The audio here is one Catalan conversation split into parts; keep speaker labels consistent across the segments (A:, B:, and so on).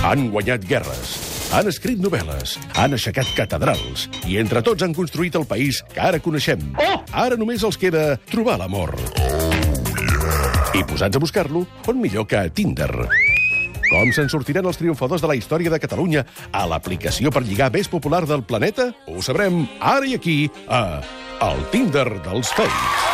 A: Han guanyat guerres, han escrit novel·les, han aixecat catedrals i entre tots han construït el país que ara coneixem.
B: Oh!
A: Ara només els queda trobar l'amor. I posats a buscar-lo, on millor que a Tinder. Com se'n sortiran els triomfadors de la història de Catalunya a l'aplicació per lligar més popular del planeta? Ho sabrem ara i aquí, a El Tinder dels Feis.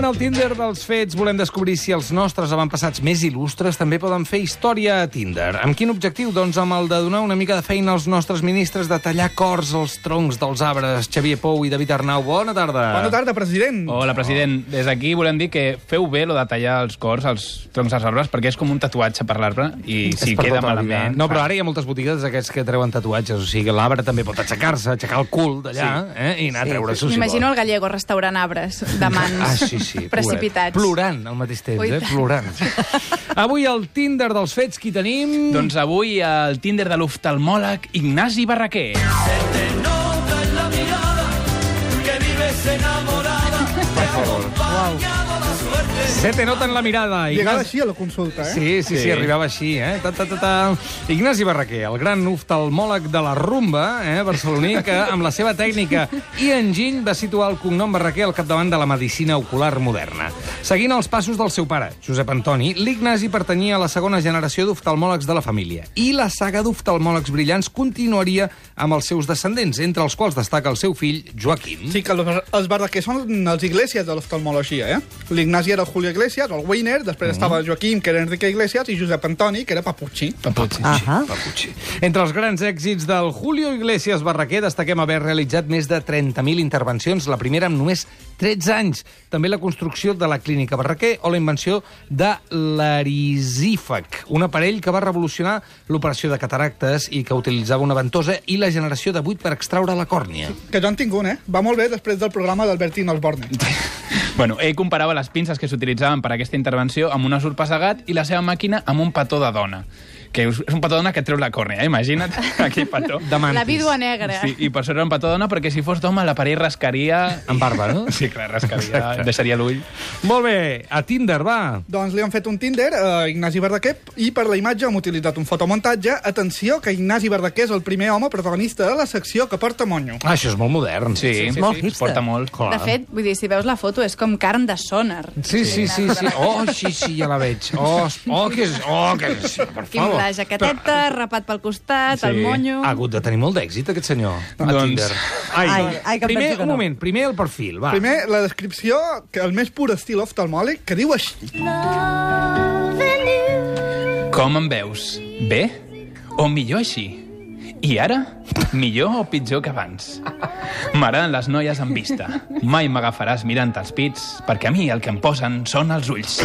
C: En el Tinder dels fets volem descobrir si els nostres avantpassats més il·lustres també poden fer història a Tinder. Amb quin objectiu? Doncs amb el de donar una mica de feina als nostres ministres de tallar cors als troncs dels arbres. Xavier Pou i David Arnau, bona tarda.
D: Bona tarda, president.
C: Oh,
E: Hola, president. Des d'aquí volem dir que feu bé lo de tallar els cors, els troncs dels arbres, perquè és com un tatuatge per l'arbre i si
C: És per
E: queda
C: tota la vida.
E: malament...
C: No, però ara hi ha moltes botigues d'aquests que treuen tatuatges, o sigui que l'arbre també pot aixecar-se, aixecar el cul d'allà sí. eh? i anar sí, a treure-s'ho. si
F: M'imagino
C: vol.
F: el gallego restaurant arbres de mans
C: Ah, sí, sí. pobret.
F: precipitats.
C: Plorant al mateix temps,
F: Ui,
C: eh?
F: tant.
C: Plorant. Avui al Tinder dels fets, qui tenim?
E: Doncs avui al Tinder de l'oftalmòleg Ignasi Barraquer.
C: Se te nota en la mirada. Ignasi.
D: Llegada així a la consulta, eh?
C: Sí, sí, sí, sí, arribava així, eh? Ta, ta, ta, ta. Ignasi Barraquer, el gran oftalmòleg de la rumba, eh, barceloní, que amb la seva tècnica i enginy va situar el cognom Barraquer al capdavant de la medicina ocular moderna. Seguint els passos del seu pare, Josep Antoni, l'Ignasi pertanyia a la segona generació d'oftalmòlegs de la família i la saga d'oftalmòlegs brillants continuaria amb els seus descendents, entre els quals destaca el seu fill, Joaquim.
D: Sí, que els, els barraquers són els Iglesias de l'oftalmologia, eh? L'Ignasi era el Julio Iglesias, el Weiner, després mm. estava el Joaquim, que era Enrique Iglesias, i Josep Antoni, que era Papucci.
E: Papuchi.
G: Ahà.
C: Papucci. Entre els grans èxits del Julio Iglesias Barraquer destaquem haver realitzat més de 30.000 intervencions, la primera amb només 13 anys. També la construcció de la clínica Barraquer o la invenció de l'arisífac, un aparell que va revolucionar l'operació de cataractes i que utilitzava una ventosa i la generació de buit per extraure la còrnia.
D: Que jo en tinc un, eh? Va molt bé després del programa d'Albertín Osborne.
E: Bueno, ell comparava les pinces que s'utilitzaven per a aquesta intervenció amb un osur passegat i la seva màquina amb un petó de dona. Que és un petó de dona que treu la còrnea, eh? imagina't, aquell petó.
C: De mantis.
F: La vídua negra.
E: Sí, I per sort era un petó de dona, perquè si fos d'home l'aparell rascaria...
C: Amb barba, no?
E: Sí, clar, rascaria, deixaria l'ull.
C: Molt bé, a Tinder, va.
D: Doncs li han fet un Tinder a Ignasi Verdaquer i per la imatge hem utilitzat un fotomuntatge. Atenció, que Ignasi Verdaquer és el primer home protagonista de la secció que porta monyo.
C: Ah, això és molt modern.
E: Sí, sí, sí,
G: molt
E: sí, es
G: hipster.
E: porta molt.
C: Clar.
F: De fet, vull dir, si veus la foto, és com carn de sònar.
C: Sí, sí, sí, sí. Oh, sí, sí, ja la veig. Oh, oh que és... Oh, que és... Per
F: Amb
C: favor.
F: la
G: eh,
F: jaqueteta, rapat pel costat, el monyo...
C: Ha hagut de tenir molt d'èxit, aquest senyor, a
E: Doncs-
C: Tinder.
G: Ai, ai, que em
C: primer,
G: penso que
C: un
G: no.
C: moment, primer el perfil, va.
D: Primer, la descripció, que el més pur estil oftalmòlic, que diu així.
E: Com em veus? Bé? O millor així? I ara? Millor o pitjor que abans? M'agraden les noies en vista. Mai m'agafaràs mirant els pits, perquè a mi el que em posen són els ulls.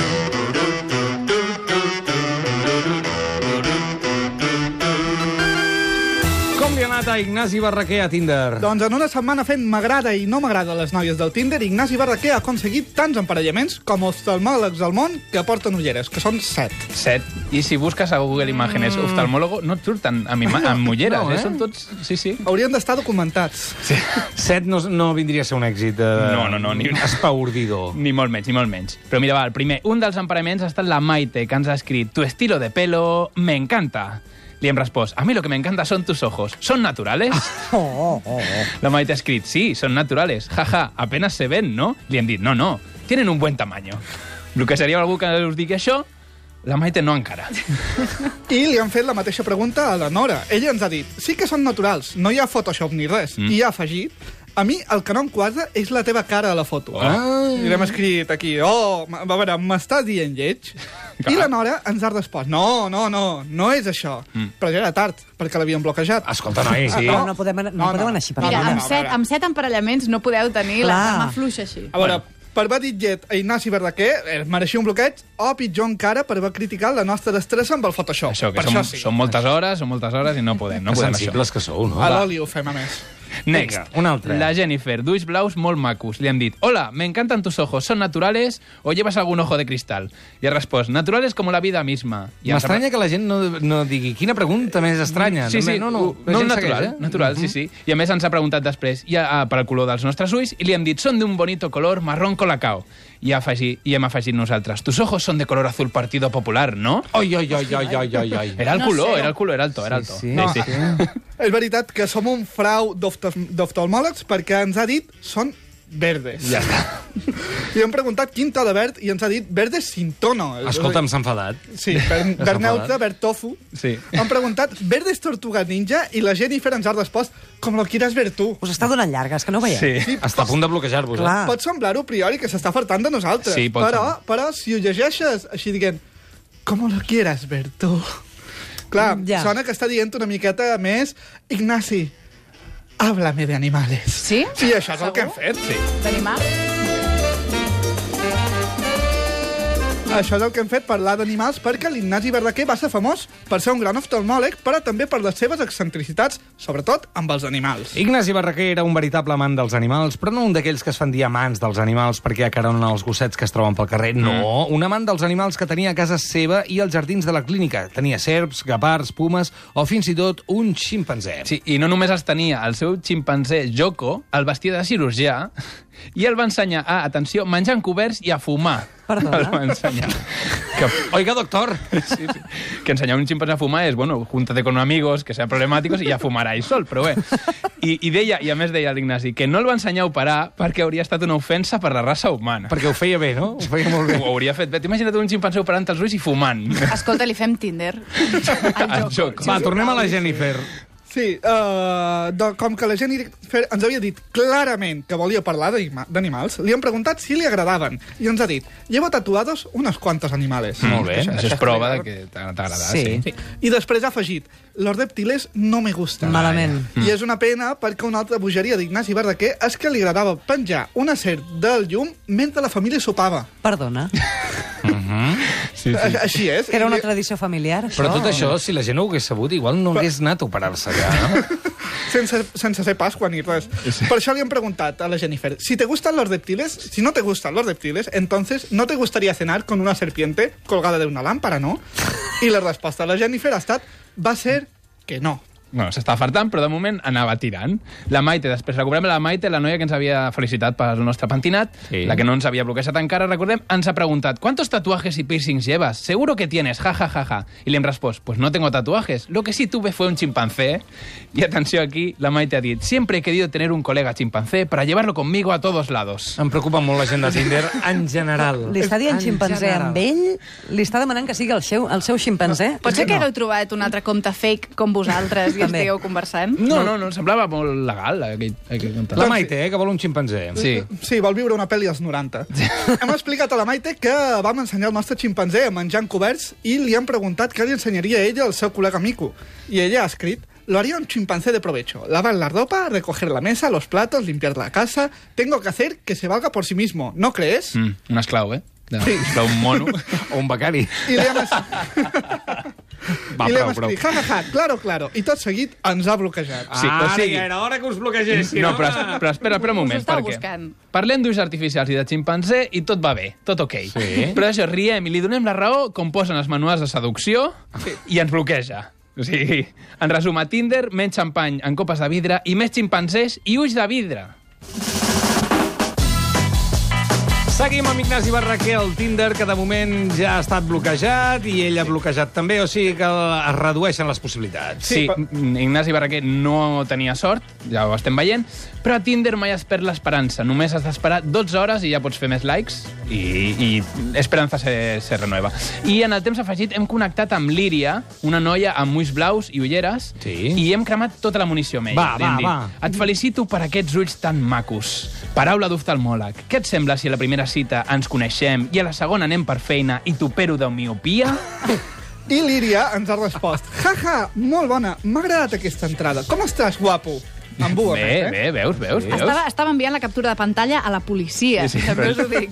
C: Com li ha anat a Ignasi Barraquer a Tinder?
D: Doncs en una setmana fent m'agrada i no m'agrada les noies del Tinder, Ignasi Barraquer ha aconseguit tants emparellaments com oftalmòlegs del món que porten ulleres, que són set.
E: Set. I si busques a Google Imágenes oftalmòlogo, no et surten amb, ima- amb ulleres,
C: No,
E: no, eh?
C: eh?
E: Són tots... Sí, sí.
D: Haurien d'estar documentats.
E: sí.
C: Set no, no vindria a ser un èxit eh,
E: No, no, no, ni una.
C: espaordidor.
E: Ni molt menys, ni molt menys. Però mira, va, el primer, un dels emparaments ha estat la Maite, que ens ha escrit Tu estilo de pelo me encanta. Li hem respost, a mi lo que me encanta son tus ojos. ¿Son naturales?
G: Oh, oh, oh.
E: La Maite ha escrit, sí, son naturales. Jaja, apenas se ven, ¿no? Li hem dit, no, no, tienen un buen tamaño. El que seria algú que us digui això, la Maite no encara.
D: I li han fet la mateixa pregunta a la Nora. Ella ens ha dit, sí que són naturals, no hi ha Photoshop ni res. Mm. I ha afegit, a mi el que no em quadra és la teva cara a la foto.
C: Ah.
D: I l'hem escrit aquí, oh, m- a veure, m'estàs dient lleig? I la Nora ens ha respost, no, no, no, no és això. Mm. Però ja era tard, perquè l'havien bloquejat.
C: Escolta, noi, eh, sí.
G: no, no podem anar- no podem anar així per la
F: Mira,
G: no, no,
F: amb set, amb set emparellaments no podeu tenir la
G: Clar.
F: cama fluixa així.
D: A veure, per haver dit llet a Ignasi Verdaquer, eh, mereixia un bloqueig, o pitjor encara, per haver criticat la nostra destressa amb el Photoshop.
E: Això, que
D: per
E: som,
D: sí.
E: són moltes hores, són moltes hores i no podem, no
C: que
E: podem això.
C: sensibles que sou, no?
D: A
C: Va.
D: l'oli ho fem, a més.
E: Next.
C: Vinga, un altre.
E: La Jennifer, d'ulls blaus molt macos. Li han dit, hola, me encantan tus ojos, ¿son naturales o llevas algún ojo de cristal? I ha respost, naturales como la vida misma. I ens ha-
C: M'estranya que la gent no, no digui quina pregunta més estranya.
E: Sí, sí,
C: no, no, no, la
E: no
C: gent
E: natural,
C: segueix, eh?
E: natural, sí, sí. I a més ens ha preguntat després i a, a, per el color dels nostres ulls i li hem dit són d'un bonito color marrón colacao. I, ha afegit, I hem afegit nosaltres, tus ojos son de color azul partido popular, no?
C: Ai, ai, ai, ai, ai, ai, ai.
E: Era el
F: No
E: color,
F: sé.
E: era el color, era el to, era el to.
C: Sí,
D: No,
C: sí. sí.
D: És veritat que som un frau d'oftal- d'oftalmòlegs perquè ens ha dit són verdes.
E: Ja està.
D: I hem preguntat quin to de verd i ens ha dit verdes sin tono.
C: Escolta'm, s'ha enfadat.
D: Sí, verd, verd neutre, verd tofu.
E: Sí.
D: Han preguntat verdes tortuga ninja i la Jennifer ens ha respost com lo quieras ver tu.
G: Us està donant llargues, que no ho veieu?
E: Sí.
C: Està a punt de bloquejar-vos, eh?
G: Clar.
D: Pot semblar-ho a priori que s'està fartant de nosaltres.
E: Sí, pot
D: però,
E: semblar.
D: però si ho llegeixes així dient com lo quieras ver tu... Clar,
G: Ja.
D: sona que està dient una miqueta més Ignasi, háblame de animales.
F: Sí?
D: I això és el que hem fet.
E: Sí.
F: D'animar?
D: Això és el que hem fet parlar d'animals perquè l'Ignasi Verdaguer va ser famós per ser un gran oftalmòleg, però també per les seves excentricitats, sobretot amb els animals.
C: Ignasi Barraquer era un veritable amant dels animals, però no un d'aquells que es fan dir amants dels animals perquè acaronen els gossets que es troben pel carrer. No, un amant dels animals que tenia a casa seva i als jardins de la clínica. Tenia serps, gapards, pumes o fins i tot un ximpanzé.
E: Sí, i no només els tenia, el seu ximpanzé Joko el vestia de cirurgià i el va ensenyar a, atenció, menjar en coberts i a fumar.
G: Perdona?
E: El va ensenyar. Que,
C: Oiga, doctor!
E: sí, sí. que ensenyar un ximpanzé a fumar és, bueno, júntate con amigos que sean problemàticos i ja fumarais sol, però bé. I, i deia, i a més deia l'Ignasi, que no el va ensenyar a operar perquè hauria estat una ofensa per la raça humana.
C: Perquè ho feia bé, no? Ho feia molt bé.
E: Ho hauria fet bé. T'imagina't un ximpanzé operant els ulls i fumant.
F: Escolta, li fem Tinder.
E: El joc.
C: Va, tornem a la Jennifer.
D: Sí, uh, doncs, com que la Jennifer ens havia dit clarament que volia parlar d'anima- d'animals, li han preguntat si li agradaven i ens ha dit, llevo tatuados unos cuantos animales.
E: Mm. Molt bé, això, és prova de
D: clar.
E: que t'ha t'ha agradat.
G: Sí.
E: Sí. sí.
D: I després ha afegit, los reptiles no me gustan.
G: Malament.
D: I és una pena perquè una altra bogeria d'Ignasi Verdaguer és que li agradava penjar una serp del llum mentre la família sopava.
G: Perdona,
D: Sí, sí. Així és.
G: que era una tradició familiar, això.
C: Però tot això, si la gent ho hagués sabut, igual no hagués anat a operar-se allà, no?
D: sense, sense ser Pasqua ni res. Per això li han preguntat a la Jennifer, si te gustan los reptiles, si no te gustan los reptiles, entonces no te gustaría cenar con una serpiente colgada de una lámpara, ¿no? I la resposta de la Jennifer ha estat, va ser que no.
E: No, s'està fartant, però de moment anava tirant. La Maite, després recuperem la Maite, la noia que ens havia felicitat pel nostre pentinat, sí.
C: Sí.
E: la que no ens havia bloquejat encara, recordem, ens ha preguntat ¿Cuántos tatuajes y piercings llevas? Seguro que tienes, ja, ja, ja, ja. I li hem respost, pues no tengo tatuajes. Lo que sí tuve fue un chimpancé. I atenció aquí, la Maite ha dit, siempre he querido tener un colega chimpancé para llevarlo conmigo a todos lados.
C: Em preocupa molt la gent de Tinder en general.
G: Li està dient
C: En
G: ximpanzé
C: general.
G: amb ell, li està demanant que sigui el seu, el seu ximpanzé.
F: Pot ser que hagueu trobat un altre compte fake com vosaltres i
G: També.
F: estigueu conversant?
E: No, no, no, semblava molt legal eh, aquell, aquell contacte.
C: La Maite, eh, que vol un ximpanzé.
E: Doncs Sí.
D: Sí, vol viure una pel·li als 90. Hem explicat a la Maite que vam ensenyar el nostre ximpanzé a menjar en coberts i li han preguntat què li ensenyaria ella al seu col·lega mico. I ella ha escrit, lo haría un chimpancé de provecho. Lavar la ropa, recoger la mesa, los platos, limpiar la casa... Tengo que hacer que se valga por sí mismo, ¿no crees?
E: Mm, un esclau, eh? De- D'un mono.
C: O un becari.
D: I li hem, es...
C: Va,
D: I li hem
C: prou, prou.
D: escrit, ja, ja, ja, claro, claro. I tot seguit ens ha bloquejat.
E: Sí, o sigui-
C: Ara ja era hora que us bloquegessin,
E: Mm, No, però,
C: home.
E: però espera, espera un moment,
F: estava
E: perquè
F: buscant.
E: parlem d'ulls artificials i de ximpanzé i tot va bé, tot ok.
C: Sí.
E: Però això, riem i li donem la raó com posen els manuals de seducció i ens bloqueja. O sigui, en resum, a Tinder, menys xampany en copes de vidre i més ximpanzés i ulls de vidre.
C: Seguim amb Ignasi Barraquer al Tinder, que de moment ja ha estat bloquejat i ell ha bloquejat també, o sigui que es redueixen les possibilitats.
E: Sí,
D: però-
E: mm, Ignasi Barraquer no tenia sort, ja ho estem veient, però a Tinder mai es perd l'esperança. Només has d'esperar 12 hores i ja pots fer més likes i, i esperança se, se renueva. I en el temps afegit hem connectat amb Líria, una noia amb ulls blaus i ulleres,
C: Sí.
E: i hem cremat tota la munició amb ella.
C: Va,
E: Li hem
C: va,
E: dit,
C: va.
E: Et felicito per aquests ulls tan macos. Paraula d'oftalmòleg. Què et sembla si a la primera cita ens coneixem i a la segona anem per feina i t'opero de miopia?
D: I l'Iria ens ha respost, ja, ja, molt bona, m'ha agradat aquesta entrada. Com estàs, guapo? Amb bues,
E: Bé,
D: eh?
E: bé, veus, veus, veus.
F: Estava, estava enviant la captura de pantalla a la policia,
E: Sí, sí,
F: sí, sí, també us
E: però-
F: ho dic.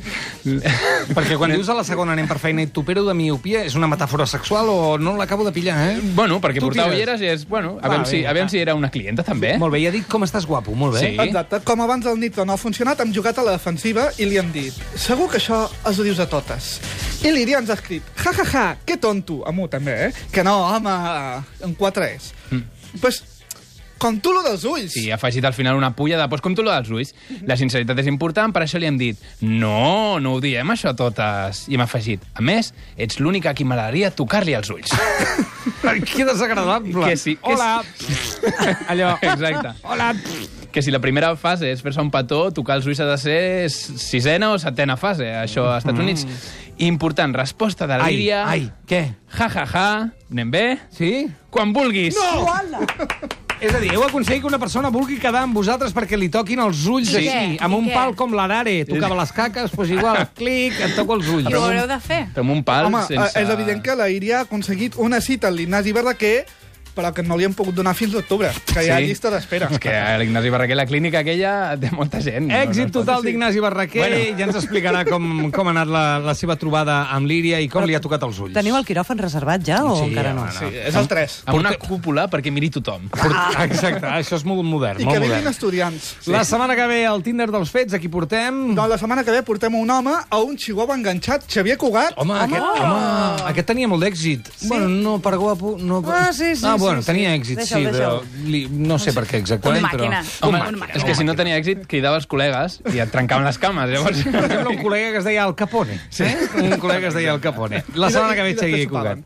C: Perquè quan dius a la segona anem per feina i t'opero de miopia, és una metàfora sexual o no l'acabo de pillar, eh?
E: Bueno, perquè
C: Tu
E: portar
C: tires.
E: ulleres és... Bueno, a
C: Va,
E: veure si,
C: vinga,
E: a veure
C: va.
E: si era una clienta, també.
C: Molt bé, ja dic com estàs guapo, molt bé.
E: Sí.
D: Exacte. Com abans el Nitro no ha funcionat, hem jugat a la defensiva i li hem dit segur que això es ho dius a totes. I l'Iria ens ha escrit ja, ja, ja, que tonto, amb un també, eh? Que no, home, en quatre és. Mm. Pues, com tu lo dels ulls.
E: Sí, ha afegit al final una pulla de pos com tu lo dels ulls.
C: Mhm.
E: La sinceritat és important, per això li hem dit no, no ho diem això a totes. I hem afegit, a més, ets l'única a qui m'agradaria tocar-li els ulls.
C: Que desagradable.
E: Que sí, que
C: Hola. Allò.
E: Exacte.
C: Hola.
E: Que si la primera fase és fer-se un petó, tocar els ulls ha de ser sisena o setena fase, això als Estats Units. Important, resposta de la
C: Mm. Ai,
E: Líria.
C: ai, què?
E: Ja, ja, ja, anem bé?
C: Sí?
E: Quan vulguis. No!
C: És a dir, heu aconseguit que una persona vulgui quedar amb vosaltres perquè li toquin els ulls
F: Sí.
C: així,
F: Què?
C: amb
F: I
C: un
F: què?
C: pal com l'Arare. Tocava les caques, doncs igual, clic, et toco els ulls.
F: I ho haureu de fer.
E: Fem un pal
D: Home,
E: sense...
D: eh, és evident que la Iria ha aconseguit una cita al l'Ignasi Verdaguer però que no li hem pogut donar fins l'octubre, que hi ha
E: Sí.
D: llista d'espera.
E: És que a l'Ignasi Barraquer, la clínica aquella, té molta gent. No,
C: Èxit
E: no,
C: total d'Ignasi Barraquer. Bueno. Ja ens explicarà com, com ha anat la, la seva trobada amb l'Íria i com li ha tocat els ulls.
G: Teniu el quiròfan reservat ja o
C: Sí,
G: encara no?
C: home,
D: Sí, és el 3.
E: Amb una cúpula perquè miri tothom.
C: Port...
G: Ah.
C: Exacte, això és molt modern.
D: I
C: molt
D: que vinguin
C: modern.
D: estudiants.
C: Sí. La setmana que ve al Tinder dels fets, aquí portem...
D: Doncs la setmana que ve portem un home a un chihuahua enganxat, Xavier Cugat.
C: Home, aquest, home, aquest tenia molt d'èxit. Sí. Bueno, no per guapo... No... per-
G: Ah, sí, sí,
C: Ah, bueno,
G: sí, sí. Doncs
C: tenia èxit,
G: Deixa'l,
C: sí, però
G: deixa'l.
C: li... no sé per què exactament,
F: Una
C: però...
F: màquina.
E: Home,
F: Un màquina,
E: és que
F: un
E: si no
F: màquina.
E: tenia èxit, cridava els col·legues i et trencaven les cames. Llavors...
C: Sembla un col·lega que es deia Al Capone. Sí. Eh? Un col·lega que es deia Al Capone. La setmana que
D: I-
C: ve,
D: i després
C: Xavier
D: sopaven.
C: Cugat.